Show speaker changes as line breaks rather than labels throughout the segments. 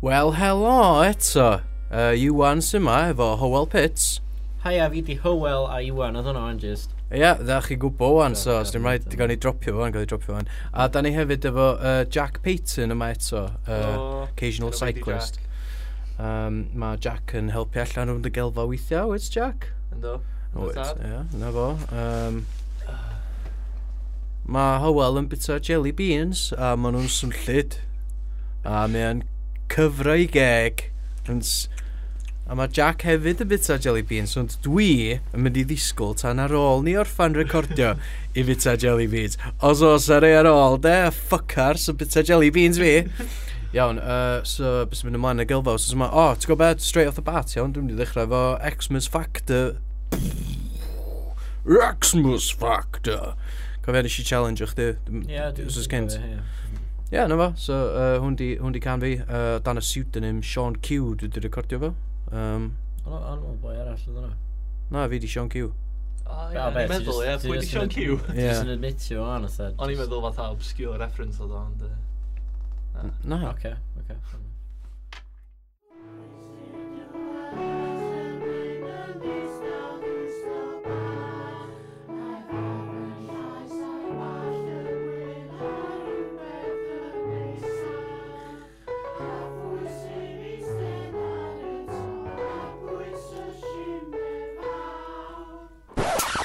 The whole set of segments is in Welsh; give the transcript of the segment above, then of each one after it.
Wel, helo eto. Uh, Iwan sy'n yma efo Howell Pits.
Hai a fi di Hywel a Iwan, oedd hwnna o'n just.
Ie, yeah, dda chi gwbo wan, so
Ie,
os
ie,
dim rhaid, gael ni dropio wan, gael ni dropio wan. A da ni hefyd efo uh, Jack Payton yma eto, uh,
Helo,
occasional
Helo, Wendy
cyclist. Um, mae Jack yn helpu allan rhwng y gelfa weithiau, wyt Jack?
Ynddo.
Wyt,
tad.
ie, na fo. Um, mae Howell yn bita jelly beans, a maen nhw'n swnllid. A mae e'n cyfro i geg. Yn s- A mae Jack hefyd yn bita jelly beans, ond dwi yn mynd i ddisgwyl tan ar ôl ni orffan recordio i bita jelly beans. Os os ar ei ar ôl, de, ffocars yn bita jelly beans fi. Iawn, uh, so bys mynd ymlaen y gylfaw, so yma, o, oh, ti'n gwybod beth, straight off the bat, iawn, dwi'n mynd i ddechrau efo Xmas Factor. Xmas Factor. Cofio nes i challenge o'ch di.
Ie, dwi'n
Os oes
gwbod
gynt.
fe, ie.
Ie, na fo, so uh, hwn di, hwn di can fi, uh, dan y pseudonym Sean Q dwi di recordio fo. Um,
Ond o- ond o'n boi arall oedd hwnna.
na, fi di Sean Q.
O, ie,
Wel,
o'n
be,
i'n
ti
meddwl,
jyst-
ie,
ti
pwy di
jyst
Sean
yn-
Q?
Ie.
Jyst yn admitio o'n oedd e.
O'n i'n meddwl fatha obscure reference oedd o, ond... yy,
Na.
Oce, oce.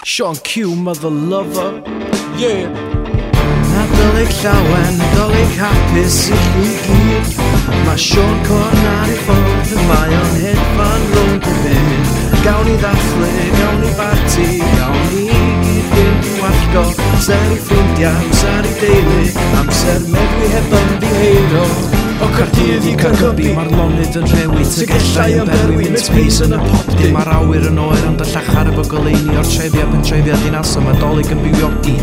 Sean Q, mother lover. Yeah. Nadolig llawen, nadolig hapus i chi gyd Mae Sean Corn ar ei ffordd, mae o'n hedfan rownd y byd Gawn ni ddathlu, gawn ni barti, gawn ni i gyd fynd i wallgo Amser i ffrindiau, amser i deulu, amser meddwi heb ymddiheuro O cardydd i cargybi,
Ma'r lonydd yn rhewi
Tygellau
Tygellau
yn
yn
berwi,
berwi Mint peas yn y pop
dim.
dim Ma'r awyr yn oer ond y llachar efo goleini O'r trefiad yn trefiad un asa Mae dolyg yn bywiogi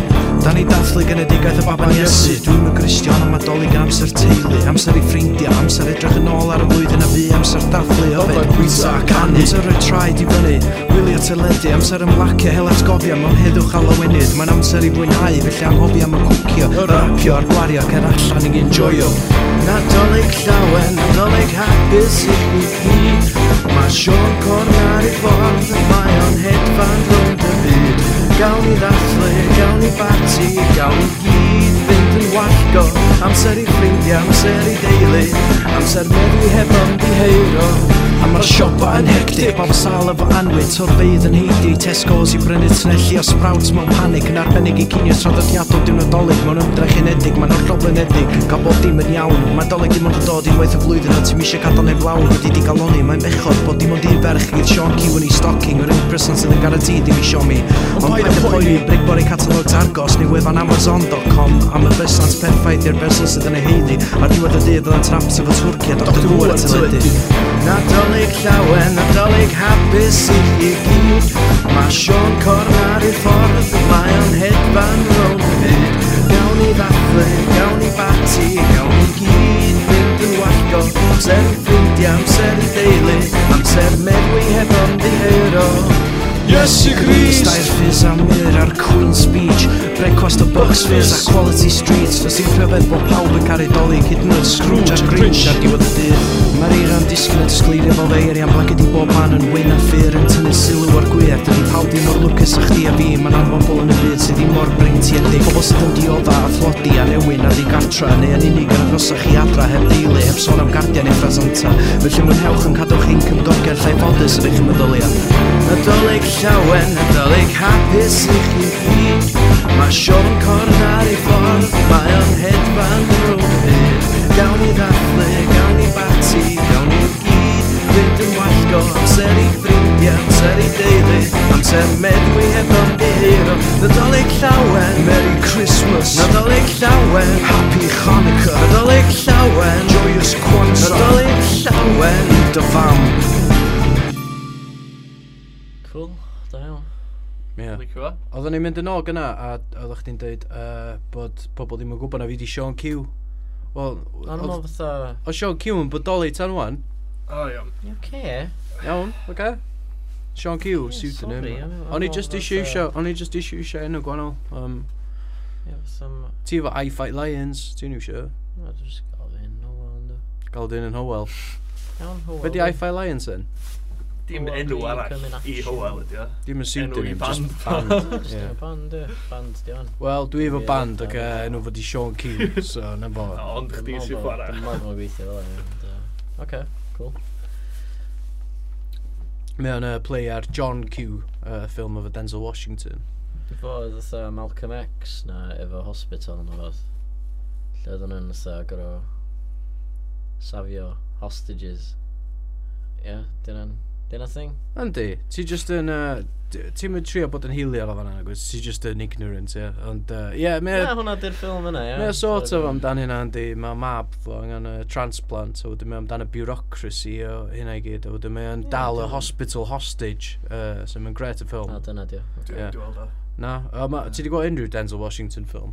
Da ni dathlu genedigaeth y baban Iesu Dwi'm yn Gristion ond mae dolyg yn amser teulu Amser i ffrindiau, amser edrych yn ôl ar y flwyddyn a fi Amser dathlu
Ofyn
ofyn pwysa a canu Amser rhoi traed i fyny Wylio teledu, amser ymlacio Hel atgofio mewn heddwch a lawenydd Mae'n amser i fwynhau, felly anghofio am y cwcio Y rapio a'r gwario, cer allan i enjoyo
Nadolig llawen, nadolig hapus i chi gyd Mae Sean Corn ar ei ffordd, mae o'n hedfan rownd y byd Gawn ni ddathlu, gawn ni barti, gawn ni gyd fynd yn wallgo Amser i ffrindiau, amser i deulu, amser meddwi heb ymddiheuro
A mae'r siopa yn hectic Bawb sal efo anwyd, torfeidd yn heidi Tesco's i brynu tynelli a sprouts mewn panic Yn arbennig i cynio traddodiadol diwnodolig Mewn ymdrech unedig, mae'n o'r problemedig Gael bob dim yn iawn Mae'n dolyg dim ond yn dod unwaith y flwyddyn Ond ti'n eisiau gadael neb lawn Wedi di galoni, mae'n bechod bod dim ond un ferch Gyda Sean Q yn ei stocking Yr unig person sydd yn garantí dim i siomi Ond paid y poeni, brig bori catalogs Argos Neu wefan Amazon.com Am y besant perffaith i'r berson sydd yn ei heiddi Ar diwedd y dydd oedd yn traps efo Twrcia Dr Who ar y teledu
Nadolig llawen, nadolig hapus i chi gyd Mae Sean Corn ar ei ffordd, mae o'n hedfan rownd y byd Gawn ni ddathlu, gawn ni bati, gawn ni gyd fynd yn wallgo Amser i ffrindiau, amser i deulu, amser medwi heb ymddiheuro Iesu
Stair fizz a mir ar Queen's Beach Brecwast o Bucks Fizz a Quality Streets Does i'n rhyfedd bod pawb yn caru dolyg Hyd yn oed Scrooge a'r Grinch ar diwedd y dydd Mae'r eira'n disgyn yn disgleirio fel feir Ia'n blaged i bob man yn wyn a ffyr Yn tynnu sylw ar gwir Dyn ni pawb dim mor lwcus a chdi a fi Mae'n anbobol yn y byd sydd ddim mor breintiedig Pobl sydd yn diodda a thlodi a newyn a ddigartra Neu yn unig yn agosach i adra heb deulu Heb sôn am gardiau neu ffrasanta Felly mwynhewch yn cadwch chi'n cymdogaeth lle fodus yn eich meddyliau
Nadolig llawen, nadolig hapus i chi gyd Mae Sean Corn ar ei ffordd, mae o'n hedfan rhwng y byd Gawn ni ddathlu, gawn ni bati, gawn ni gyd Fynd yn er wallgo, amser i ffrindiau, amser i deulu Amser medwi heb ymddiheuro Nadolig llawen, Merry Christmas Nadolig llawen,
Happy Hanukkah
nadolig llawen
Joyous Kwanzaa
Nadolig llawen
Dy fam
Cool, da iawn.
Ie.
Licio fo?
Oedden ni'n mynd yn ôl gyna, a oeddech chdi'n dweud uh, bod pobl ddim yn gwybod na fi di Sean Q. Wel,
Ond
oedd
mae'n fatha...
oedd Sean Q yn bodoli tan wan.
O, iawn.
You okay?
Iawn, oce? Okay. Sean Q,
Ie, sorry,
pseudonym.
I'm- I'm
O'n i
all
just
about
issue
that.
isio, o'n i just issue isio enw gwahanol. Um,
Ie, fatha...
ti efo I Fight Lions, ti'n isio?
Mae'n just gofyn, no well, ynddo.
Galdyn yn Howell.
Iawn, hwyl.
Be di I Fight Lions yn?
Dim
Hywel
enw
Green
arall
Combination.
i Hywel ydi o.
Dim yn
Enw i
pseudonym,
band.
just band.
Just
Ie.
yn y band, ie. Band, di fan.
Wel, dwi efo
Ie,
band,
band.
ac okay, enw fod i Sean Q, so na fo.
O, Ond chdi sy'n chwarae.
Dwi'n meddwl bod gweithio fel hynny. Oce, cool.
Mae o'n uh, play ar John Q, uh, ffilm efo Denzel Washington.
Dwi'n fawr fatha Malcolm X na efo hospital yn fath. Lle oedden nhw'n fatha gorau safio hostages. Ie, dyna'n... Dyna thing?
Yndi, ti just yn... Uh, d- ti'n mynd trio bod yn hiliol o fan'na, nagwys, ti just yn ignorant, ie. Ond, uh, ie, mae...
Na, hwnna di'r ffilm yna, ie.
Mae o sort of amdan hynna yndi, mae mab fo angen y transplant, a wedyn mae amdan y bureaucracy o hynna i gyd, a wedyn mae o'n
Ie,
dal y
dyna.
hospital hostage, uh, so mae'n gret y ffilm.
A dyna di o.
Ie.
Dwi'n gweld o.
Na, o, ma, ti wedi gweld unrhyw Denzel Washington ffilm?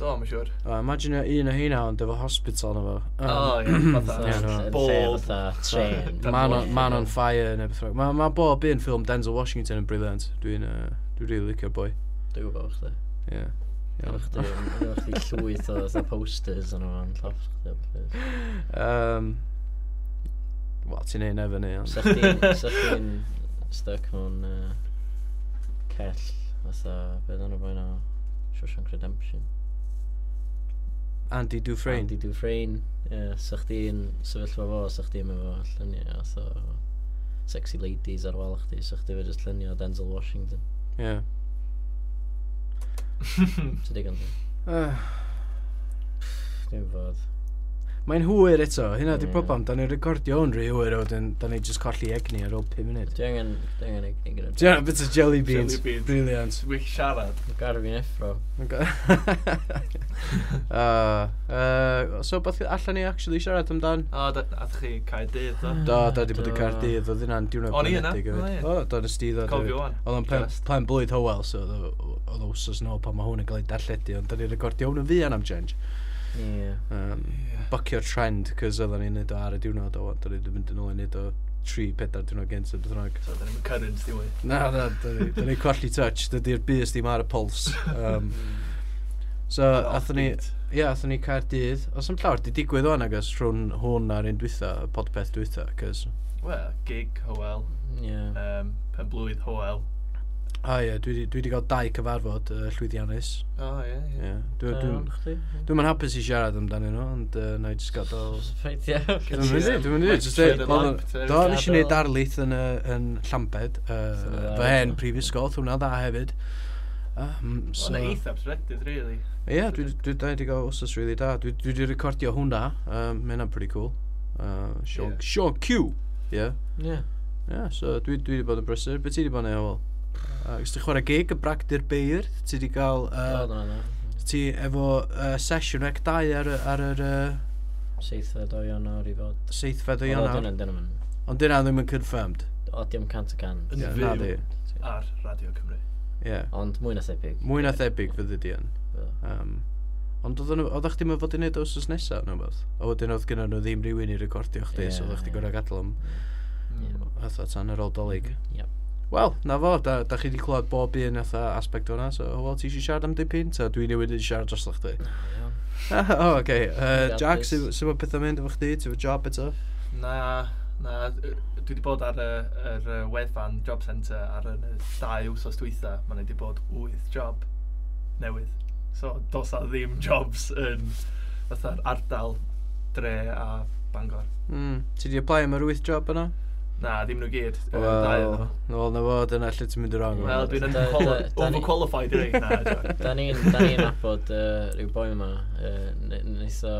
Do, mae'n siŵr.
O, imagine un o hynna ond efo hospital na fo.
O,
Um,
ie,
Ie,
fatha.
no.
Fatha-
Bob-
fatha Train.
Fatha-
Man on, man on fire neu beth rhaid. Mae ma bob un ffilm Denzel Washington yn briliant. Dwi'n uh, dwi really licio boi.
Dwi'n gwybod chdi.
Ie.
Gynna
Iawn.
chdi gynna chdi llwyth o fatha posters yn o'n lloff chdi. o bethe.
Um, Wel, ti'n neud efo ni. ond-
Sa chdi'n- sa chdi'n stuck mewn yy, cell fatha beth yna bo'n o Shawshank Redemption.
Andy Dufresne.
Andy Dufresne. Ie, Sa chdi'n sefyllfa fo, sa chdi'n efo lluniau fatha o sexy ladies ar wal chdi, sa chdi fe jyst lluniau o Denzel Washington.
Ie.
Sa digon di.
Ah.
Yy,
Dwi'n fod.
Mae'n hwyr eto, hynna di
Ie.
problem, da ni'n recordio hwn rhy hwyr a wedyn, da ni'n just colli egni ar ôl 5 munud.
Dwi angen, dwi angen ig- ignorant.
Dwi'n rhaid bit o jelly beans,
Jelly beans.
briliant.
Dwi'n siarad.
Mae garf i'n effro.
So, beth allan ni actually siarad amdan?
O, ath chi cael dydd o.
Do, da di bod yn
Do.
Cardydd, oedd hynna'n diwrnod
O'n i yna,
blinedig hefyd.
o'n i.
O, do, nes di ddod hefyd.
Cofio wan.
Oedd o'n pen-
Just.
pen blwydd hywel, so oedd o- oedd o wsos nôl pan mae hwn yn cael ei darlledu, ond da ni'n recordio hwn yn fuan am change.
Ie.
Um,
Ie.
bucio'r trend, cos oedden ni'n neud o ar y diwrnod, o, da ni'n mynd yn ôl i neud o 3-4 diwrnod gynt o beth bynnag.
So, da ni'n current e? ddim wedi.
Na, na, dyn ni colli touch, dydy'r bus ddim ar y puls. Um, so, athyn ni, ie, athyn ni Caerdydd, os yn llawer, di digwydd o'n agos rhwng hwn a'r un dwytha, y podpeth dwytha, cys...
Wel, gig, Hywel.
Ie.
Um, pen blwydd, Hywel.
A ie, dwi 'di- dwi wedi cael dau cyfarfod uh, llwyddiannus.
O, ie, ie.
Ie, dwi'n... Dwi,
Iawn, chdi?
Dwi'n ma'n hapus i siarad amdano nhw, ond uh, na i just gadael...
Rhaid iawn.
Dwi'n mynd i, dwi'n mynd i,
Mae'n
just
trwy'n
deud,
y lamp,
oedd-
ti'n
do, nes i
gadael.
wneud darlith yn, yy, yn Llambed,
So,
uh,
dda,
fy hen
so.
prifysgol, oedd hwnna dda hefyd. Um, so,
Mae'n eitha abstracted, really.
Ie, yeah, dwi dwi- dwi wedi gael wsos really da. Dwi dwi wedi recordio hwnna. Um, Mae hynna'n pretty cool. Uh, Sean,
Ie.
Sean Q. Ie. Yeah.
Ie.
Yeah, so dwi dwi wedi bod yn brysur. Be ti wedi bod yn ei wel? Uh, ti chwarae gig y bragdi'r beir. Ti wedi gael...
Do,
Uh,
do, do.
ti efo uh, session rec 2 ar, y- ar yr uh,
Seithfed o Ionar i fod.
7fed o
Ond o,
Ianar.
dyna- dyna ma'n-
Ond dyna ddim yn confirmed.
O, diom cant y cant.
Yn
Ie,
fyw.
Na di.
Ar Radio Cymru.
Ie.
Ond mwy na thebyg.
Mwy na thebyg fydd ydi yn. Um, ond oedden nhw- oeddach chdi'n fod i wneud os os nesaf neu beth? A wedyn oedd gennym nhw ddim rhywun i recordio chdi,
Ie,
so oeddach chdi
ie.
gorau gadael am
Mm.
Atha tan yr odolig.
Ie.
Wel, na fo, da, da chi wedi clywed bob un atha aspect o'na, so wel, ti eisiau siarad am dipyn, ta dwi newid i siarad dros chdi. o, oce. Yy, Jack,
Gapus.
sut mae pethau mynd efo chdi? Ti'n fy job eto?
Na, na, dwi wedi bod ar y, yr y wefan Job Centre ar y dau wsos dwytha. Mae'n wedi bod wyth job newydd. So, dos a ddim jobs yn fatha'r ardal dre a Bangor.
Mm. Ti wedi apply am yr 8 job yna?
Na, ddim nhw gyd. yy, dau
Wel,
ohonyn nhw.
wel, na fo, dyna lle ti'n mynd i wrong.
Wel, dwi'n
Da- da-
underquali-
da ni-
overqualified i reid na. joc.
Da ni'n da ni'n nabod yy, rhyw boi yma, yy, ne- wnaeth o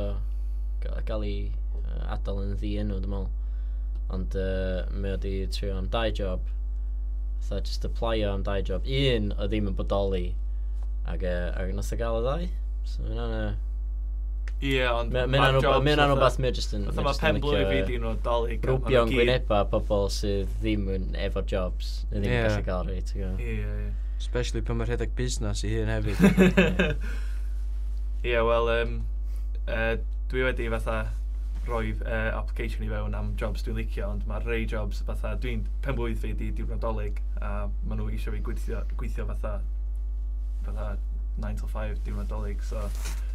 ga- gael ei yy, adael yn ddi enw, dwi'n meddwl. Ond yy, mae o wedi trio am dau job, fatha just applyo am dau job. Un o ddim yn bodoli, ac, uh, ac nath o gael y ddau. So mae hwnna'n yy,
Ie, ond
Mae'n anobath mae jyst yn...
Fatha mae pen blwy fi di nhw dolyg. a ma' nhw
Rwbio yn
gyd-
gwyneba pobl sydd ddim yn efo jobs, neu ddim yn
Ie.
gallu cael rei, ti'n gwybod?
Ie, ie.
Especially pan mae'r rhedeg busnes i hun hefyd.
Ie, wel, um, uh, dwi wedi fatha roi uh, application i fewn am jobs dwi'n licio, ond mae rei jobs fatha, dwi'n pen blwydd fi di diwrnodolig, a maen nhw eisiau fi gweithio, gweithio fatha, fatha 9 to 5 diwrnodolig, so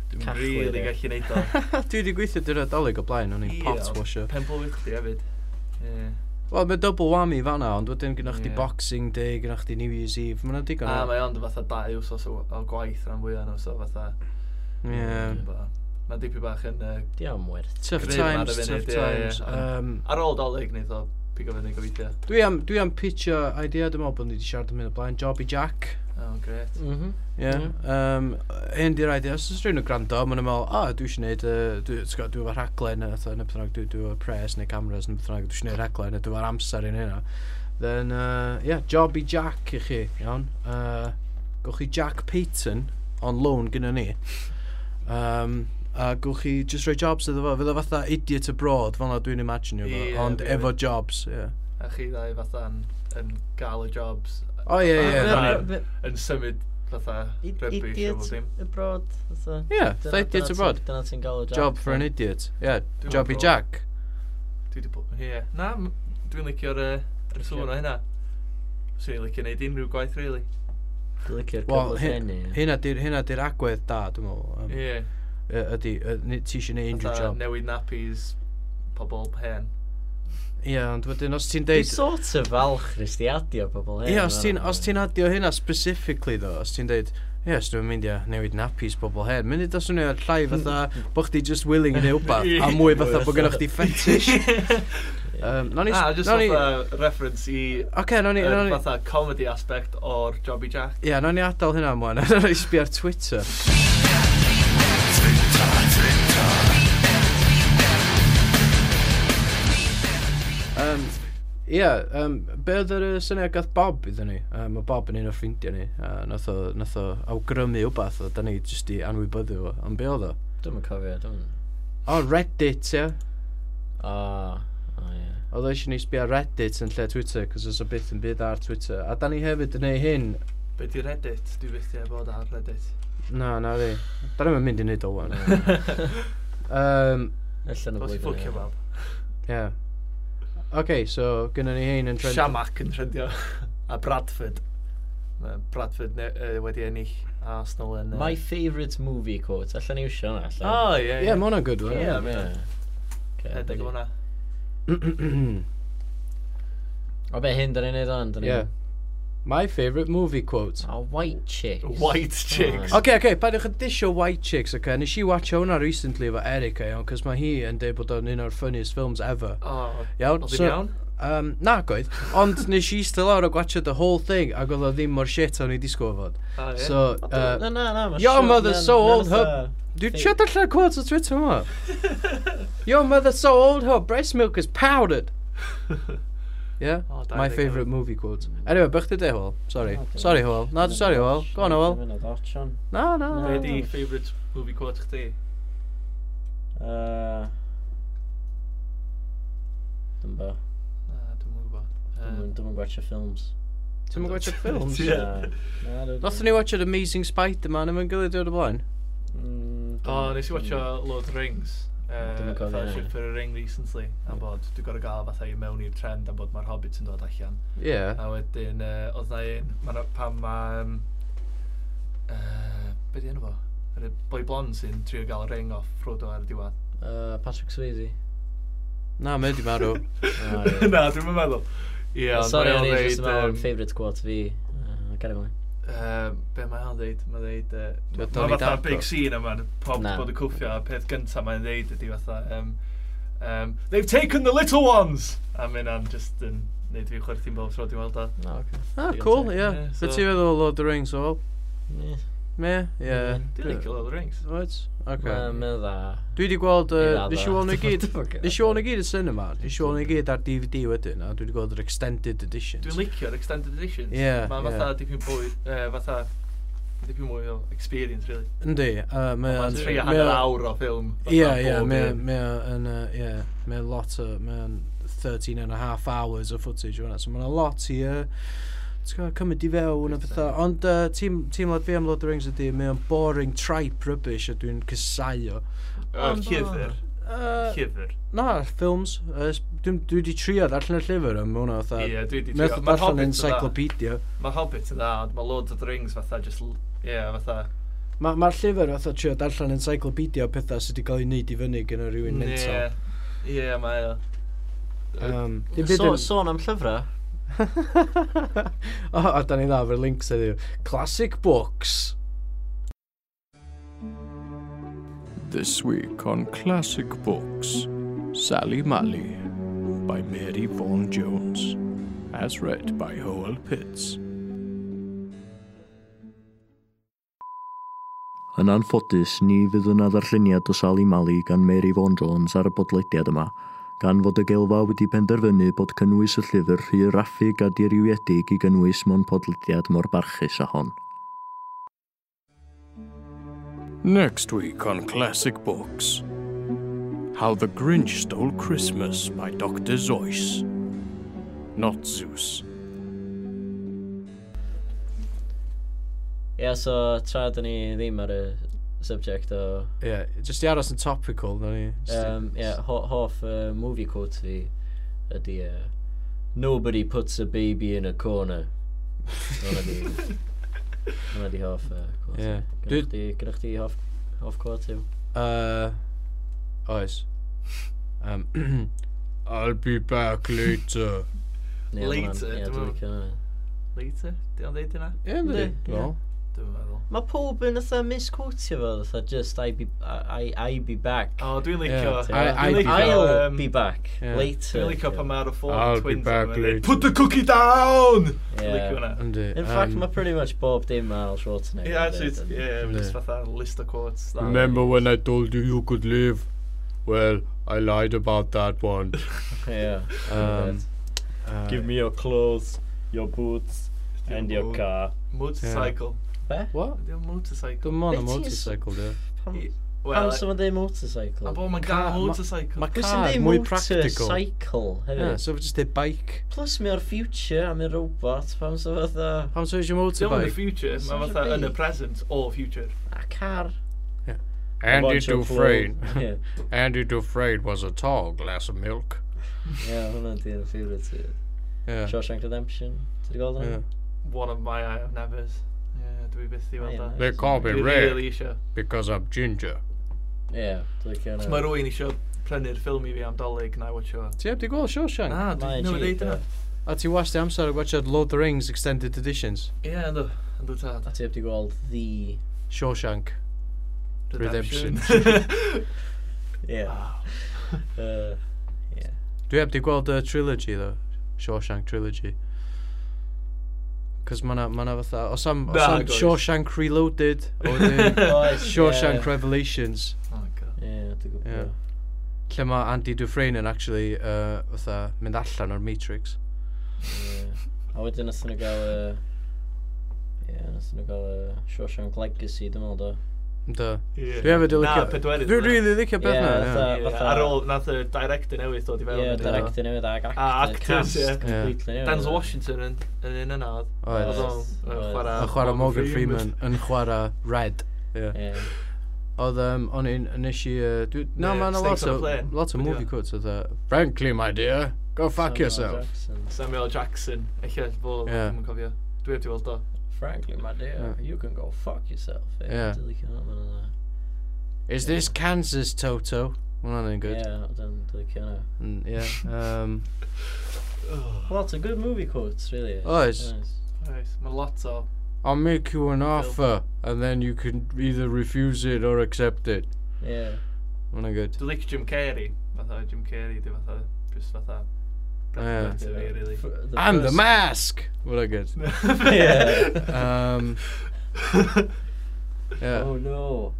dwi'n
Cachwyd,
rili really
ie.
gallu neud o.
Dwi wedi gweithio dyr adolyg o blaen, o'n i'n
Ie,
pot
ond
washer.
Pen blwydd chdi hefyd. Ie.
Wel, mae double whammy fanna, ond wedyn gynnwch chdi
Ie.
Boxing Day, gynnwch chdi New Year's Eve, mae'n digon.
A
o-
mae ond fatha dau wsos o, o gwaith rhan fwyaf nhw, so fatha...
Ie.
Mae'n dipyn bach yn uh,
Di am werth.
Tough
Grym ar y
times, tough
funud, ie, ie,
times.
ond-
Um,
Ar ôl dolyg wneud o pigo fyny gobeithio.
Dwi am, dwi am pitio idea, dwi'n meddwl bod ni wedi siarad am hyn o blaen, Jobby Jack.
Oh, great.
Mhm.
Ie. Yeah. Um, hyn di'r idea, os oes rhywun yn gwrando, mae'n meddwl, o, dwi eisiau gwneud, uh, dwi eisiau rhaglen, neu fatha, neu beth bynnag, dwi eisiau pres neu cameras, neu beth bynnag, dwi eisiau gwneud rhaglen, neu dwi eisiau amser i'n hynna. Then, uh, yeah, Jobby Jack i chi, iawn. Uh, gwch chi Jack Payton, on loan gyda ni. Um, a gwch chi just rhoi jobs iddo fo, fydd o fatha idiot abroad, fel na dwi'n imaginio fo,
Ie,
ond
fi-
efo jobs, ie.
A chi ddau fatha yn, yn gael y jobs,
O, ie,
Ie,
ie,
ie. yn symud fatha rygbi siw o
Idiot
dim.
abroad. fatha.
ie,
Dyna-
fatha idiot
dyna ti-
abroad.
Dyna ti'n gael y job.
Job for an idiot. Yeah,
Dwi'n
Jobby
meddwl-
Jack.
Dwi di bod... Ie. Na, m- dwi'n licio'r uh, sŵn o hynna. Swn i'n licio neud unrhyw gwaith, really.
Dwi'n licio'r
Wel,
cyfle
hy-
ffenni.
hynna di'r hynna di'r agwedd da, dwi'n meddwl. yym,
Ie.
y- Ydi, y- ni- ti eisiau gwneud Mm. unrhyw
Fatha
job.
newid nappies, pobl hen.
Ie, ond wedyn, os ti'n
Dwi'n
deud...
sort of falch rhysdiadio pobl hyn.
Ie, os ti'n os ti'n adio hynna specifically, ddo, os ti'n deud, ie, os dwi'n mynd i a newid nappies pobl hen, mynd i da swnio llai fatha bo chdi just willing i neu wbath, a mwy fatha bo gynnwch chdi fetish. Um, nawn ni...
Na, just
nawn ni-
Ah, fatha reference i
Oce, nawn ni...
yr
nawn ni-
fatha comedy aspect o'r Jobby Jack.
Ie, nawn ni adael hynna ymlaen, a nawn ni sbi ar Twitter. Um, Ie, um, be oedd yr yy, syniad gath Bob iddyn ni? Um, mae Bob yn un o ffrindiau ni, a nath o, nath o awgrymu wbath o, da ni jyst i anwybyddu o, ond be oedd o?
Dwi'n cofio, dwi'n...
O, Reddit, ie.
O, o ie.
Oedd o eisiau ni sbio ar Reddit yn lle Twitter, cos oes o byth yn byd ar Twitter. A da ni hefyd yn ei hyn,
Be di Reddit? Dwi byth i bod ar Reddit.
na, na di. Da ni'n mynd i neud o wan. Um,
Allan o
Os i
blwyddyn.
ffwcio fel.
Yeah. OK, so gynna ni hein yn trend...
Siamac yn trendio a Bradford. Ma' Bradford ne, uh, wedi ennill Arsenal yn...
My favourite movie quote. Allan i wsio hwnna,
O,
allan.
oh, ie,
Ie,
ie.
yeah, mae hwnna'n good one.
Ie,
Yeah.
ma' hwnna. Edeg o
hwnna.
hwnna.
O be hyn, dyn ni'n neud o'n? dyn ni'n-
Yeah. My favourite movie quote.
A white chicks.
White chicks.
Oh,
OK, OK, paddwch yn disio White Chicks, OK? Nes i watcha hwnna recently efo Eric, iawn, cos mae hi yn deud bod o'n un o'r funniest films ever.
O,
Iawn,
oedd hi'n iawn?
Um, na, goedd. Ond nes i still lawr o gwatcha the whole thing, ac oedd o ddim mor shit o'n i disgwyl fod.
O, ie.
So,
Na,
uh,
na, na. ma'
Your
siwr-
mother's
na-
so
na
old,
fatha-
Dwi'n siarad allan quotes o Twitter yma. Your mother's so old, her breast milk is powdered. Yeah?
O, da
My
fi,
favourite
Gavin.
movie quote. Anyway, bych ti de, Hwyl. Sorry.
Oh,
Na, dim.
Sorry, Hwyl. Na, dwi'n sorry, Hwyl. Go on, Hwyl.
Dwi'n mynd o Sion.
Na, na,
Na,
Be
na.
di favourite movie quote chdi?
Uh, Dwi'n bo.
Na, dwi'm yn gwybod.
Dwi'n
Yym,
mynd gwachio ffilms.
Ti'n mynd gwachio ffilms?
Ie.
Na, na, dwi-
Nothon ni watched Amazing Spider-Man yma'n gilydd diwrnod o blaen?
Mm,
O,
dwi'm-
nes i watcho Lord of the Rings.
Dwi'm
Uh,
yn cofio hynna.
Fellowship for a Ring recently a bod dwi'n gorau gael fatha i mewn i'r trend a bod mae'r Hobbits yn dod allan
Ie.
a wedyn uh, oedd na un ma' 'na- pan mae um, uh, be di enw fo? Yr boi blond sy'n trio gael y ring off Frodo ar y diwedd
Uh, Patrick Swayze.
Na, mae wedi marw.
Ah, ie.
Na, dwi'n yn meddwl. Ie, ond
Sorry,
mae
o'n
o'n
i just yn meddwl
dweud...
am favourite quote fi. Uh, Gary Mlaen.
yym, Be mae o'n dweud? Mae'n dweud...
Dwi'n
Mae'n
Donnie
fatha
Darko.
big scene yma, pob
Na.
bod y cwffio, a peth gyntaf mae'n dweud ydi fatha... Um, um, They've taken the little ones! A mynd am just yn... Neud fi chwerthu'n bob tro dwi'n weld o.
No, okay.
Ah, cool, ie.
Ie, so-
Be ti'n feddwl o Lord of the Rings, Hwyl?
Yeah.
Me? Ie.
Dwi'n licio Lord of the Rings.
Oed? OK.
Mae'n mynd dda.
Dwi wedi gweld,
I
uh,
radda.
nes i weld nhw i gyd,
What the fuck?
nes i weld nhw i gyd yn cinema, nes i weld nhw i gyd ar DVD wedyn, a dwi wedi gweld yr extended editions.
Dwi'n licio'r extended editions.
Ie,
Mae'n
ie.
fatha dipyn bwyd, uh, fatha Dipyn mwy o experience, really.
Yndi, uh, mae
Mae'n
o'n...
tri a
mae
hanner
o'n-
awr o ffilm. fatha,
Ie, ie,
bob
mae
un.
mae o'n, yy, ie, mae o'n lot o, mae o'n 13 and a half hours o footage o'n so mae'n lot i, yy, ti'n gwybod, cymryd i fewn a pethau, ond yy, team- teimlad fi am Lord of the Rings ydy, mae o'n boring tripe rubbish a dwi'n cysau o.
Yr llyfr.
Yy,
Llyfr.
Na, ffilms, yy, s- dwi'n- dwi wedi trio darllen y llyfr am hwnna,
Ie,
fatha,
dwi wedi
Methu
trio.
darllen
Ma'r Hobbit yn dda.
encyclopedia.
Ma'r Hobbit yn dda, ond mae Lord of the Rings fatha just... l- Ie, fatha...
Mae'r ma ma'r llyfr fatha trio darllen encyclopedia o pethau sydd wedi cael ei wneud i fyny gen o rhywun mental.
Ie, Ie, mae o.
Um, dim byd
So,
yn-
sôn am llyfrau.
o, o, da ni dda, fe'r links ydi. Classic Books.
This week on Classic Books, Sally Mally by Mary Vaughan Jones, as read by Howell Pitts.
Yn anffodus, ni fydd yna ddarlluniad o Sally Mali gan Mary Vaughan Jones ar y bodlediad yma, gan fod y gelfa wedi penderfynu bod cynnwys y llyfr rhy raffig a diriwiedig i gynnwys mewn podlediad mor barchus a hon.
Next week on Classic Books, How the Grinch Stole Christmas by Dr. Zeus. Not Zeus.
Ie, yeah, so, tra dyn ni ddim ar y subject o...
Ie, yeah, jyst i aros yn topical, da ni. Jyst i-
Um, yeah, ho- hoff uh, movie quote fi ydy... Uh, Nobody puts a baby in a corner. Hwna di... Hwna di hoff uh, quote.
Ie.
Yeah.
Dwi-
Gynna chdi, gynna chdi hoff, hoff quote yw?
Uh, oes. Um, I'll be back later.
Ie,
Later,
hwnna'n- ie,
dwi'n
dwi'n
meddwl.
licio hwnna.
Later? Di o'n deud yna?
Ie, ynddi?
Yndi, ie.
Wel,
Dwi'n meddwl.
Mae pob yn ytho misquotio fo, ytho just I be, I, I, I be back.
O, dwi'n licio...
Ie,
Ie,
I- I
Dwi'n
be back.
I'll
licio...
be
yym,
back
Ie.
later.
Dwi'n licio pan mae'r
I'll
ffôn
be
twins
back
yn mynd,
later.
Put the cookie down! Dwi'n
Ie.
licio hwnna.
ynddi.
In fact,
um,
mae pretty much bob dim mae Arnold Schwarzenegger.
Ie,
yn
actually,
deud
it's-
yn-
ie, just
Yeah.
fatha list of quotes. that.
Remember
when I told you you could live? Well, I lied about that one.
Ie.
um, uh,
me your clothes, your boots, car.
Motorcycle.
Be?
What?
Ydy o'n motorcycle?
Dim ond y
It is-
motorcycle, di.
Ie,
Pam
Wel,
sy'n mynd ei motorcycle?
a bod mae'n
Car-
gael
ma-
motorcycle.
ma'
Plus
car
yn ei
mwy practical.
motorcycle
Yeah,
hefyd.
so fe just did bike.
Plus mae o'r future a mae'n robot, pam sy'n fatha...
Pam so is your
Dim yn y
motorbike?
future,
Such
mae
a
fatha yn y
big-
present o future.
A car.
Andy
Bunch of
Dufresne.
wool. Ie,
Andy Dufresne was a tall glass of milk.
ie, hwnna'n di'n favourite. fi.
Yeah.
Shawshank Redemption. Ti'n gweld hwnna?
yeah.
One of my eye of nevers. Ie, dwi byth i weld
Aye,
that.
They call me
Dwi
Red
really isio.
because I'm ginger.
Ie, dwi'n licio hwnna.
Mae rwy'n isio prynu'r ffilm i fi am dolyg na i watcho.
Ti heb di gweld Shawshank?
Na,
Mae'n
dwi'n newid
cheap,
deud yna.
A ti wasti amser o gwachod Lord of the Rings Extended Editions?
Ie, ynddo. Ynddo tad.
A ti heb di gweld the...
Shawshank. Redemption.
Ie.
Ah.
Oh,
Yy,
Dwi heb di gweld y trilogy ddo. Shawshank trilogy. Cos ma'na ma 'na fatha... Os am, os
Na,
am
guys.
Shawshank Reloaded, o wedyn
Oes, ie.
Shawshank Revelations,
Oh my god.
Ie, dwi'n
Ie.
gwybod.
lle mae Andy Dufresne yn actually uh, fatha mynd allan o'r Matrix.
Ie. A wedyn nath nhw gael y... Ie, nath nhw gael y Shawshank Legacy, dwi'n meddwl, do.
Ynddo.
Ie.
Dwi hefyd yn
Na,
licio...
pedwerydd
Dwi
yna.
rili licio beth
Ie,
na.
fatha-
Ie, Ar ôl, nath y director newydd dod i fewn.
Ie,
ynddo?
director newydd ag actor.
A actors,
cast
ie.
completely newydd.
Denzel Washington yn yn un yna. oedd?
Oedd.
Oedd.
Oedd o'n yn chwarae...
Yn chwarae Morgan Freeman yn chwarae Red. Ie.
Ie.
Oedd, um, o'n i'n nes i... uh, dwi- Na,
Neu
mae yna lot
Snakes on
o,
a Plane.
lot o
Wedi
movie
o.
quotes oedd... uh, Frankly, my dear, go fuck
Samuel
yourself.
Jackson.
Samuel Jackson. Eich eich bod,
Ie.
dwi'n cofio. Dwi heb di weld o.
Frankly, my dear, you can go fuck yourself. Ie,
Ie.
dwi'n licio hwnna, ma'n hwnna.
Is this Kansas, Toto? Wel, hwnna'n un
Ie,
good.
dwi'n dwi'n licio hwnna.
Mm, Ie. Um,
Lot of good movie quotes, really.
Oes.
Nice.
Oes, Mae lot o...
oh, I'll make you an offer, and then you can either refuse it or accept it.
Ie.
Hwnna'n good.
Dwi'n licio Jim Carrey. Fatha Jim Carrey, dwi fatha... Just fatha...
Ie.
representative fi, really.
F-
I'm the
first-
mask! Hwnna'n good.
Yeah.
Um, yeah.
Oh no.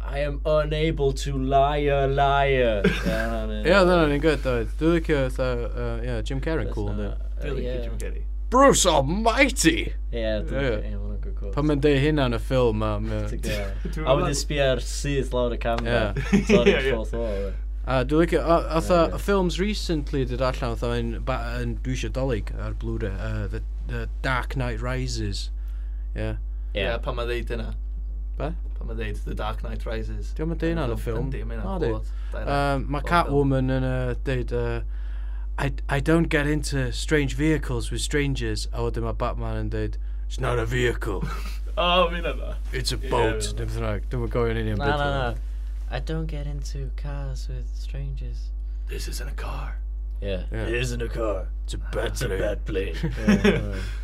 I am unable to liar, liar. er-
Ie, oedd hwnna'n un good, oedd. Dwi'n licio, fatha, uh, yeah, Jim Carrey, er cool, ynddi.
Dwi'n licio Jim Carrey.
Bruce Almighty!
Yeah,
Yeah.
yeah, yeah, quote.
Pan mae'n deud hynna yn y ffilm, ma,
Ti'n
mae...
gwbod? A
Dwi'n meddwl-
wedi sbio ar syth lawr y camera.
Ie.
Sorry,
Ie, ie.
fourth wall. ie.
A dwi'n licio, o-
Ie,
fatha,
ie.
films recently dyd allan, fatha, yn, ba- yn dwi eisiau dolyg ar Blu-ray, uh, the, the Dark Knight Rises. Ie.
Ie.
Ie, pan mae ddeud yna.
Be?
Pan mae ddeud The Dark Knight Rises.
Dio'm yn deud hynna yn y ffilm.
Yndi, mae
Na,
hynna'n
di.
bod.
Um, Mae Catwoman yn uh, deud, uh, I, I don't get into strange vehicles with strangers. A wedyn mae Batman yn deud, it's not a vehicle,
O, fi na da.
it's a
Ie,
boat.
ie.
Yeah, yeah. Dwi'n gofyn union
Na,
beth.
na, na. I don't get into cars with strangers.
This isn't a car.
Yeah.
Yeah. It
isn't a car.
It's a bad thing.
plane.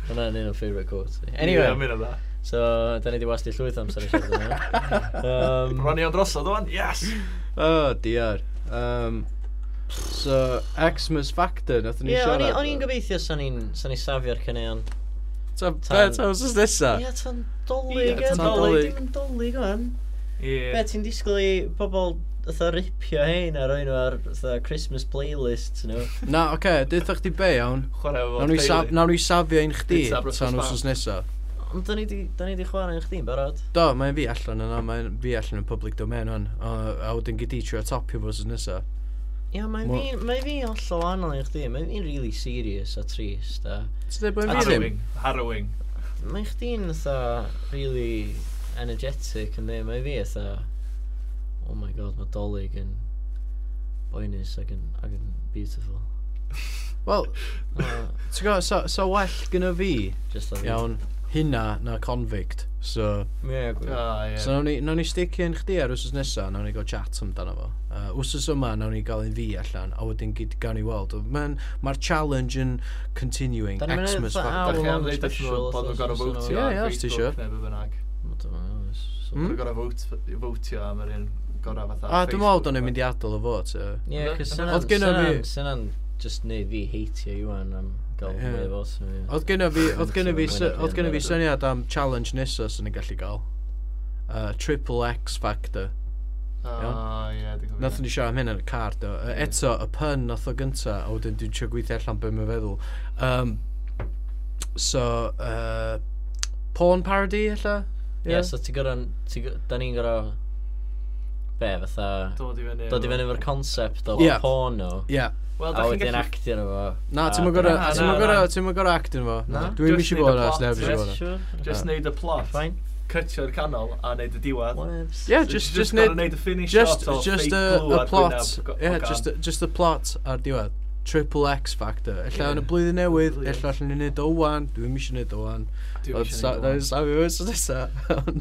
Hwna'n un o'n favourite quotes. fi. Anyway,
Ie, fi na da.
so, da ni di wasti llwyth amser i siarad yna. Um,
Ronnie o'n drosod o'n, yes!
Oh, diar. Um, so, Xmas Factor, nath ni
Ie, o'n i-
siarad.
o'n i'n gobeithio sa'n i'n sa ni safio'r cynnion.
Ta,
Tan-
ta, ta, wrthnos nesa?
Ie, ta'n dolyg,
Ie,
ie, ta'n
ta'n
dolyg.
dolyg.
Dim yn dolyg o'n. Be,
Ie.
ti'n disgwyl i bobl ytho ripio hein ar oen nhw ar ytho Christmas playlists nhw.
Na, oce, okay, dweud chdi be iawn.
Chwarae efo
Nawn ni sa-
teulu.
nawn ni safio un chdi
Pizza Brussels
tan
sprouts.
wrthnos nesa.
Ond da ni di, da ni di chwarae yn chdi'n barod.
Do, mae'n fi allan yna, mae'n fi allan yn public domain hwn. A a wedyn gyd i trio topio fo wrthnos nesa.
Ie, mae
Mo-
fi, mae fi hollol wahanol i chdi. Mae fi'n really serious a trist. A
Ti'n dweud bod yn fi ddim?
Harrowing. Harrowing.
mae chdi'n ytho really energetic yn ddim. Mae fi ytho, oh my god, mae dolyg yn boenus ac yn, ac yn beautiful.
Wel,
A,
ti'n gwybod, so, so well gyda fi,
Just like
iawn, hynna na convict. So,
Yeah,
O,
gw-
so
ie.
nawn ni, nawn ni sticio yn chdi ar wrthnos nesa, nawn ni gael chat amdano fo. Uh, wrthnos yma, nawn ni gael un fi allan, a wedyn gyd gawn ni weld. Mae'n ma challenge yn continuing,
Da ni'n mynd
Xmas
fatha
Factor.
Hour
Da chi
long
am ddeud wrthyn nhw
special,
bod nhw'n gorau
wrthnos
yma.
fwtio
Ie,
ar
ie, os ti isio.
Facebook neu be bynnag.
Wel, dwi'n meddwl, it's- so-
Hmm?
Dwi'n gorau fwtio am yr un gorau fatha
A dwi'n meddwl
Facebook
do'n i'n mynd i adael o fo, te.
Ie,
Oedd-
cos
oedd
syna'n...
gynna fi-
syna'n- Syna'n just neud fi heitio Iwan am gael
Ie.
mwy o fos. na fi.
Oedd gynna fi, oedd gynna fi, sy-
Wyneb i
oedd gynna
yn
fi
barod.
syniad am challenge nesa sy'n ni'n gallu gael. Uh, triple X Factor.
O, ie, dwi'n gwybod.
Nath ni siarad am hyn yn y car, do. Uh, eto, y pun nath o gynta, a wedyn dwi'n trio gweithio allan beth mae'n feddwl. Um, so, uh, porn parody, ella?
Ie, so ti'n gorau... Da ni'n gorau... Be, fatha...
Dod i fyny.
Dod i fyny efo'r concept o
Ie.
porn nhw.
Yeah.
Wel,
A
da chi'n
wedyn
gallu...
actio nhw fo.
Na,
A
ti'n mwyn
dyna-
gorau,
na,
ti'n
Ah, na,
mwyn gorau,
na.
ti'n mwyn gorau actio fo.
Na.
Dwi'n
Just
mysio
neud y
bod yna,
plot,
sneb
ie.
mysio bod yna.
Sure.
Just neud y plot.
Fine.
Cutio'r canol a neud y diwad.
Webs.
Yeah,
So
just, just,
you just gotta
neud-
neud y finish
just,
shot o
just
fake
a,
blue
a
ar
plot,
gwyneb go-
yeah,
ogan.
just, a- just a plot ar diwedd. Triple X Factor. Ella yn y
Ie.
blwyddyn newydd,
Brilliant.
ella allan ni wneud o wan, dwi'n mysio wneud o wan.
Dwi'n
Oedd
isio
sa-
neud
na i
o.
safio fo so nesa.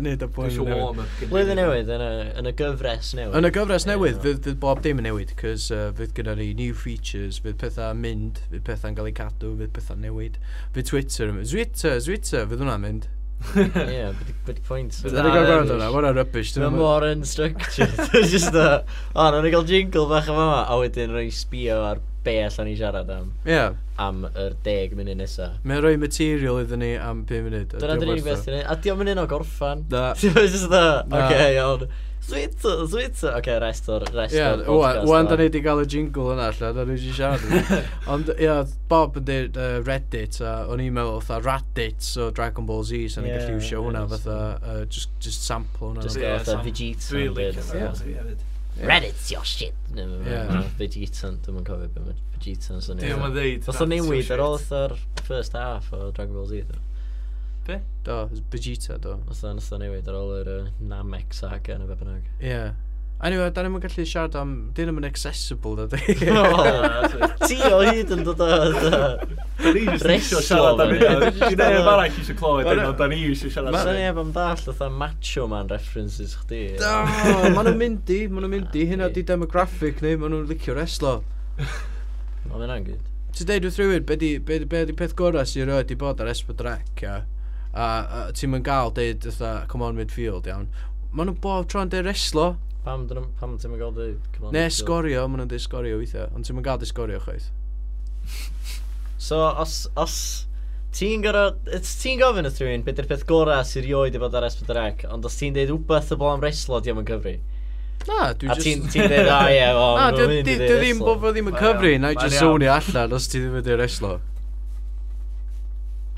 Nid y
Dwi
boi
isio warm up cyn
Blwyddyn
i-
newydd, yn y- yn y gyfres newydd.
Yn y gyfres
Ie.
newydd, fydd, fydd bob dim yn newid, cys uh, fydd gyda ni new features, fydd pethau'n mynd, fydd pethau'n cael eu cadw, fydd pethau'n newid. Fydd Twitter yn mynd. Twitter, Twitter, fydd hwnna'n mynd.
Ie, bit- bit point.
Fydd ni'n gael gwrando hwnna, hwnna'n rubbish.
Mae mor unstructured. It's just a... O, na ni gael jingle bach yma yma. A wedyn roi sbio ar be allan ni siarad am.
Ie,
Am yr deg munud nesa.
mae'n rhoi material iddyn ni am 5 munud. a
Dyna
dwi'n
dyn ni'n
werth o.
beth ni. A diolch yn un o gorffan.
Na.
Ti'n meddwl, just a...
Na.
Oce, iawn. Sweet, sweet. Oce, rest o'r... Rest
Ie,
o'r
wan-
podcast
wan
yma.
da ni wedi cael y jingle yna allan, da ni wedi siarad. am. Ond ie, oedd Bob yn dweud uh, Reddit, a o'n i'n meddwl fatha Reddit, so Dragon Ball Z, so ni'n
Ie,
gallu iwsio
ie,
hwnna
so-
fatha, uh, just, just sample hwnna. Ie,
Just go
Ie,
fatha
sam-
Vegeta
Dwi'n
yn
licio
byd,
Dragon
so.
Ball Z hefyd.
Reddit's your shit. No, no,
Ie.
no, Vegeta, dwi'n yn cofio beth mae Vegeta yn
Dwi'n
syniad.
mynd ddeud.
Fath o newid ar ôl ytho'r first half o Dragon Ball Z. ddo.
Do, Vegeta, do.
Fath o nath o newid ar ôl yr yy, Namek saga yn y bebynnag.
Ie. Yeah. Anyway, da ni'n mynd gallu siarad am... Dyn nhw'n accessible, da di.
Ti o hyd yn dod o...
Da ni jyst
Reslo
eisiau siarad
fan
am hynna.
hyn.
Dwi'n neb arall eisiau clywed hynna, da ni eisiau siarad
Sa'n
am hynna.
neb am dall oedd macho man references chdi.
Do, maen nhw'n mynd i, maen nhw'n mynd i. Hynna di demographic ni, maen nhw'n licio reslo.
O, mae'n angyd.
Ti'n deud wrth rhywun, be di, be, di- be di peth gorau sy'n rhoi di bod ar Esbydrec, ia? A, a ti'n mynd gael deud, ytha, come on midfield, iawn. Maen nhw'n bob tro'n deud reslo,
Pam, dyn nhw- pam ti'n mynd gael dweud? come on,
ne
let's go.
sgorio, maen nhw'n deud sgorio weithiau. Ond ti'n mynd gael deud sgorio, chwaith.
So, os... os Ti'n gorau... Ti'n gofyn wrth rhywun beth yw'r peth gorau sy'n rioed i fod ar S4C, ond os ti'n deud wbeth o blaen reslo, di am yn cyfri.
Na, dwi'n
A
just...
ti'n ti'n deud, a ie, o,
Na,
ma'n
dwi
mynd i
dwi-
ddeud
dwi ddim
wrestlo."
bod fo ddim yn
Mae'n
cyfri,
iawn,
na i
mae'n
just
iawn.
swnio allan os ti ddim yn deud reslo.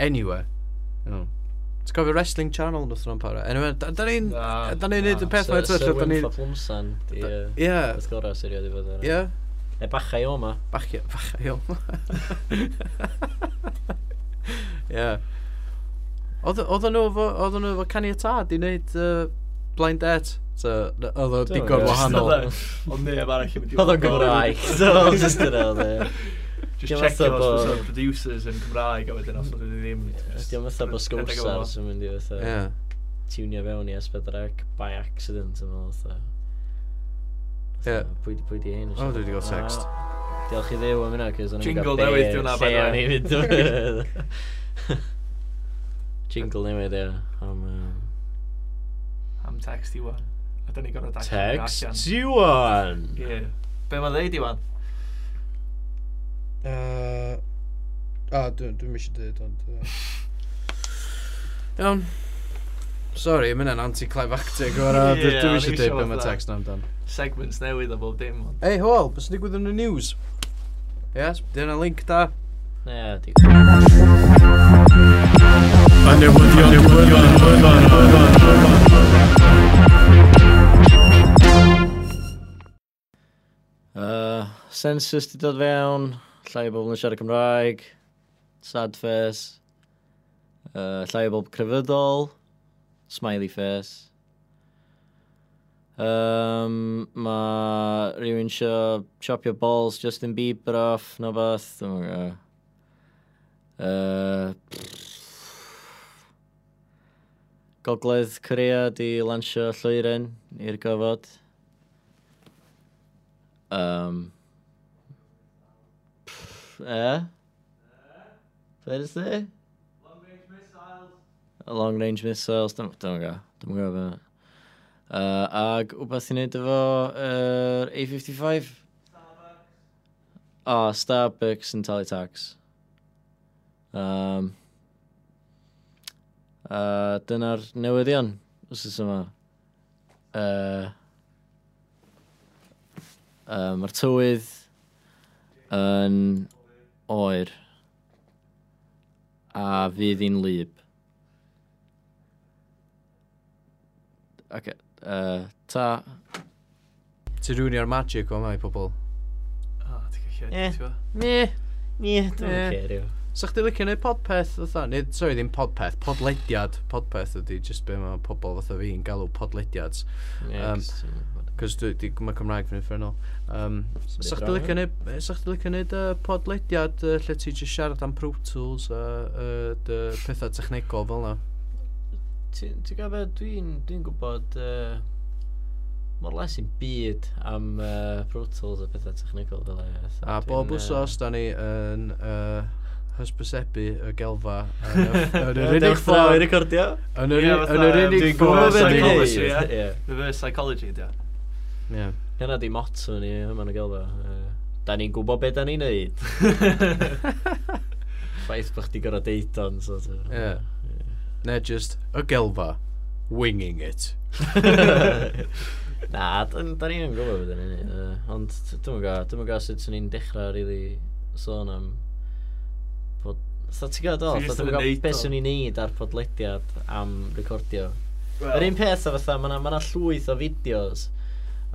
Anyway. No. Ti'n gofio wrestling channel nath nhw'n para? Anyway, da da ni'n...
Na,
Da ni'n neud y peth mae'n
Sir
tyll,
Sir
da ni'n...
Wynfa Plumsan, di... Ie.
Ie,
Beth gorau syrio di fod ar.
ie.
Neu bachau o ma.
Bachio, bachio. Ie. Oedd- Oedden nhw efo, oedden nhw efo caniatad i wneud uh, blind date. So, n- oedd o
Dwi'm yn
digon
gwbod.
wahanol.
e. Ond neb arall yn mynd i
Oedd o'n
weld o.
Gymraeg. So, oedd just yna, oedd e.
Just
Dim
checio
fatha
os
bo-
oes o'r producers yn Cymraeg a wedyn os oes ddim.
Ydy o'n fatha bod sgwrsar sy'n mynd i
Ie.
fatha tunio fewn i S4C by accident yn mynd fatha.
Ie.
Pwy di- pwy di hyn?
O, dwi 'di gael text.
Ah, Diolch i ddew am hynna, cos o'n i'n
Jingle
gael be-
newydd 'di hwnna, by the
lle o'n
way.
i'n mynd. Jingle newydd, ie. Am yym,
Am text i wan. A da ni gorau dacio'n
Text you on!
Ie. Be mae'n ddeud e? i wan?
Uh, a, dwi'n dwi eisiau dweud, ond... Uh... Iawn. Sorry, mae hynna'n anti-climactic o'r yeah,
Ie,
Dwi'n
o'n i
eisiau
isio
dweud beth mae
fatha-
text na'n dan.
Segments newydd a bob dim. ond-
Ei, hoel, bys ni gwyddo'n y news? Yes, dyna link da.
Ie, di...
A newyddion, newyddion, newyddion, newyddion.
Uh, census di dod fewn, llai o bobl yn siarad Cymraeg, sad face, uh, llai o bobl crefyddol, smiley face. Um, mae rhywun sio chopio balls Justin Bieber off, no beth, dwi'n mwyn gwybod. Uh, Gogledd Corea di lansio llwyren i'r gofod. Um. pff, Eh? Be did it say? Long range missiles. Long range missiles. Dwi'n dwi'n gwybod. Dwi'n gwybod beth. Uh, ag wbeth i wneud efo yr A55? Starbucks. O, oh, Starbucks yn talu tax. Um, uh, dyna'r newyddion, os ys yma. Uh, Uh, Mae'r tywydd yn oer a fydd hi'n lyb. Ac uh, ta...
Ti rwy'n i'r magic o mae pobl.
O, ti'n
Ie.
gallu edrych, ti'n gwbo?
Ne.
Ie,
dwi'm yn Sa chdi licio neud podpeth fatha? Neu, sorry, ddim podpeth, podlediad. Podpeth ydy just be mae pobl fatha fi'n galw podlediads. Um, Cos dwi, dwi, mae Cymraeg fi'n uffernol. Um,
bit
sa chdi
drama.
licio neud, eh, sa chdi licio neud uh, podlediad uh, lle ti just siarad am Pro Tools a uh, dy pethau technegol fel na.
Ti'n gael beth, dwi'n dwi gwybod uh, mor les i'n byd am uh, Pro Tools a pethau technegol fel e.
A bob wsos, da ni yn uh, hysbysebu y gelfa yn y- yn yr unig ffordd
recordio.
yn yr
Ie,
u- yn
fatha,
yr unig
dwi'n gwbod
ffordd
be'
i
dwi'n
neud.
Psychology, ie.
Ie.
Reverse psychology, di o.
Ie.
Hynna di motto ni, yma yn y gylfa. Yy, Da ni'n gwybod beth da ni'n neud. Ffaith bych di gorau deud o'n, sort of.
Ie. Neu just y gelfa, winging it.
Na, da da ni yn gwybod beth da ni'n neud. yy, Ond dwi'n gwybod, dwi'n gwybod sut swn i'n dechrau rili sôn am... bod- Tha ti'n gwybod o,
Ti jyst
dwi'n
yn
gwybod
neud
beth
o.
swn i'n neud ar podlediad am recordio.
Wel,
Yr un peth o fatha, mae yna llwyth o fideos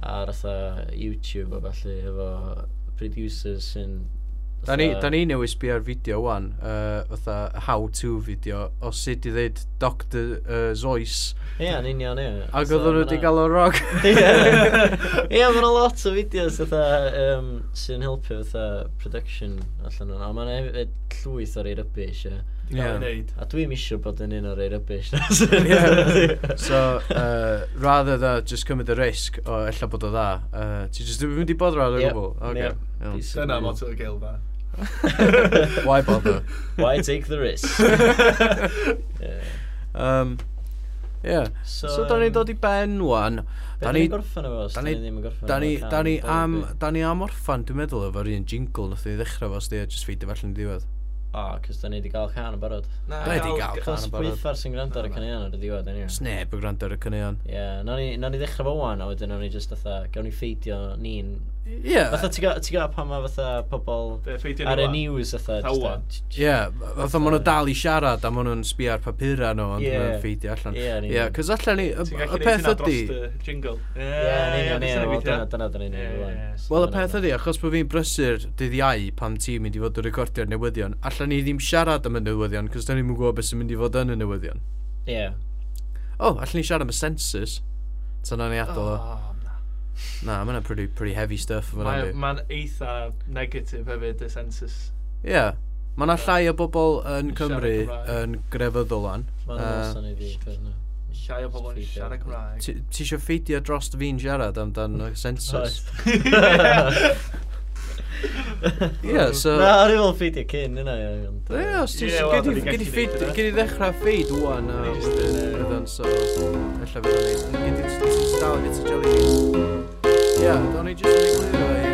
ar fatha YouTube o falle efo producers sy'n...
Da ni, da ni newis bi ar fideo wan, uh, fatha how to fideo, o sut i ddweud Dr uh, Zois.
Ie, yn union, ie.
Ac oedd nhw wedi gael o rog.
Ie, Ie, mae yna lot o fideos fatha um, sy'n helpu fatha production allan yna. Ond mae yna hefyd llwyth o'r ei rybys, ie.
Ti'n gael ei wneud.
A dwi'n misio bod yn un o'r ei rybys.
Ie. So, uh, rather than just cymryd y risg o ella bod o dda, uh, ti just ddim wedi bod rhaid o
Ie,
gwbl.
ie.
Okay. iawn.
Dyna motto y gilfa.
Why bother?
Why take the risk? Ie.
Um, yeah. So, da ni'n
yym,
dod i ben wan.
Be
Da
ni'n
ni
gorffen efo, os
da
da
ni-
ni ddim yn gorffen
Da ni,
efo
da
can,
ni
dau
am,
bit?
da ni am orffan, dwi'n meddwl, efo'r un jingle nath ni ddechrau fo, sdi, a just feidio felly yn y diwedd.
O,
O, cys da ni wedi gael can yn barod.
Na,
Da ni 'di
gael-
gael can
Cos
yn barod.
bwythar sy'n gwrando ar y caneuon ar y diwedd, anyway.
Sneb yn gwrando ar y cynnion.
Ie, yeah, nawn ni, nawn ni ddechrau fo wan, a wedyn nawn ni just fatha, gawn ni ffeidio ni'n...
Ie.
Fatha ti'n gael pan mae fatha pobl
Be, e? ffeidio
ar y
ni
news fatha...
Fatha
jyst a-
wan.
Ie, fatha maen nhw dal i siarad a maen nhw'n sbio ar papura nhw ond
Ie.
yeah. maen ffeidio allan.
Ie, yn
Ie,
union.
cos allan ni,
Ti'n
y- y
gallu neud
peth
hynna
ydi,
dros y jingle. Ie,
Ie, yn
ie,
union, ie,
fysa ni
wel,
weithio.
dyna- dyna dyna ni'n ei
Ie, ie, ie.
wneud.
wel y peth ydi, achos bod fi'n brysur dydd iau pam ti'n mynd i fod yn recordio'r newyddion, allan ni ddim siarad am y newyddion, cos da ni'n gwybod beth sy'n mynd i fod yn y newyddion.
Ie,
O, oh, allan ni siarad am y census. Ta'n ni adol o.
O, na.
Na, mae'n pretty, pretty heavy stuff.
Mae-
Mae'n ma,
Mae'n eitha negatif hefyd, y census.
yeah. Mae'n llai o bobl yn
Yn siarad
Cymru
Cymraeg.
yn grefyddol an.
Mae'n
Yy,
uh, ni fi, peth yna.
Llai o bobl yn
Ffeithiau.
siarad Cymraeg.
Ti eisiau ffeidio dros fi'n siarad amdan y census? Ie, so...
Na, o'n i fel ffeidio cyn yna, ie. ond,
Ie,
yy,
os ti
Ie, wel,
gyd
dan ni'n
i
gallu
ffeid,
neud hynna.
gyd i ddechrau ffeid wwan a
Ni jyst
wedyn
yn, yy,
rydyn so ella fydd o'n ei gyd i dal i fit y jelly beans. Ie, do'n i jyst yn ei glir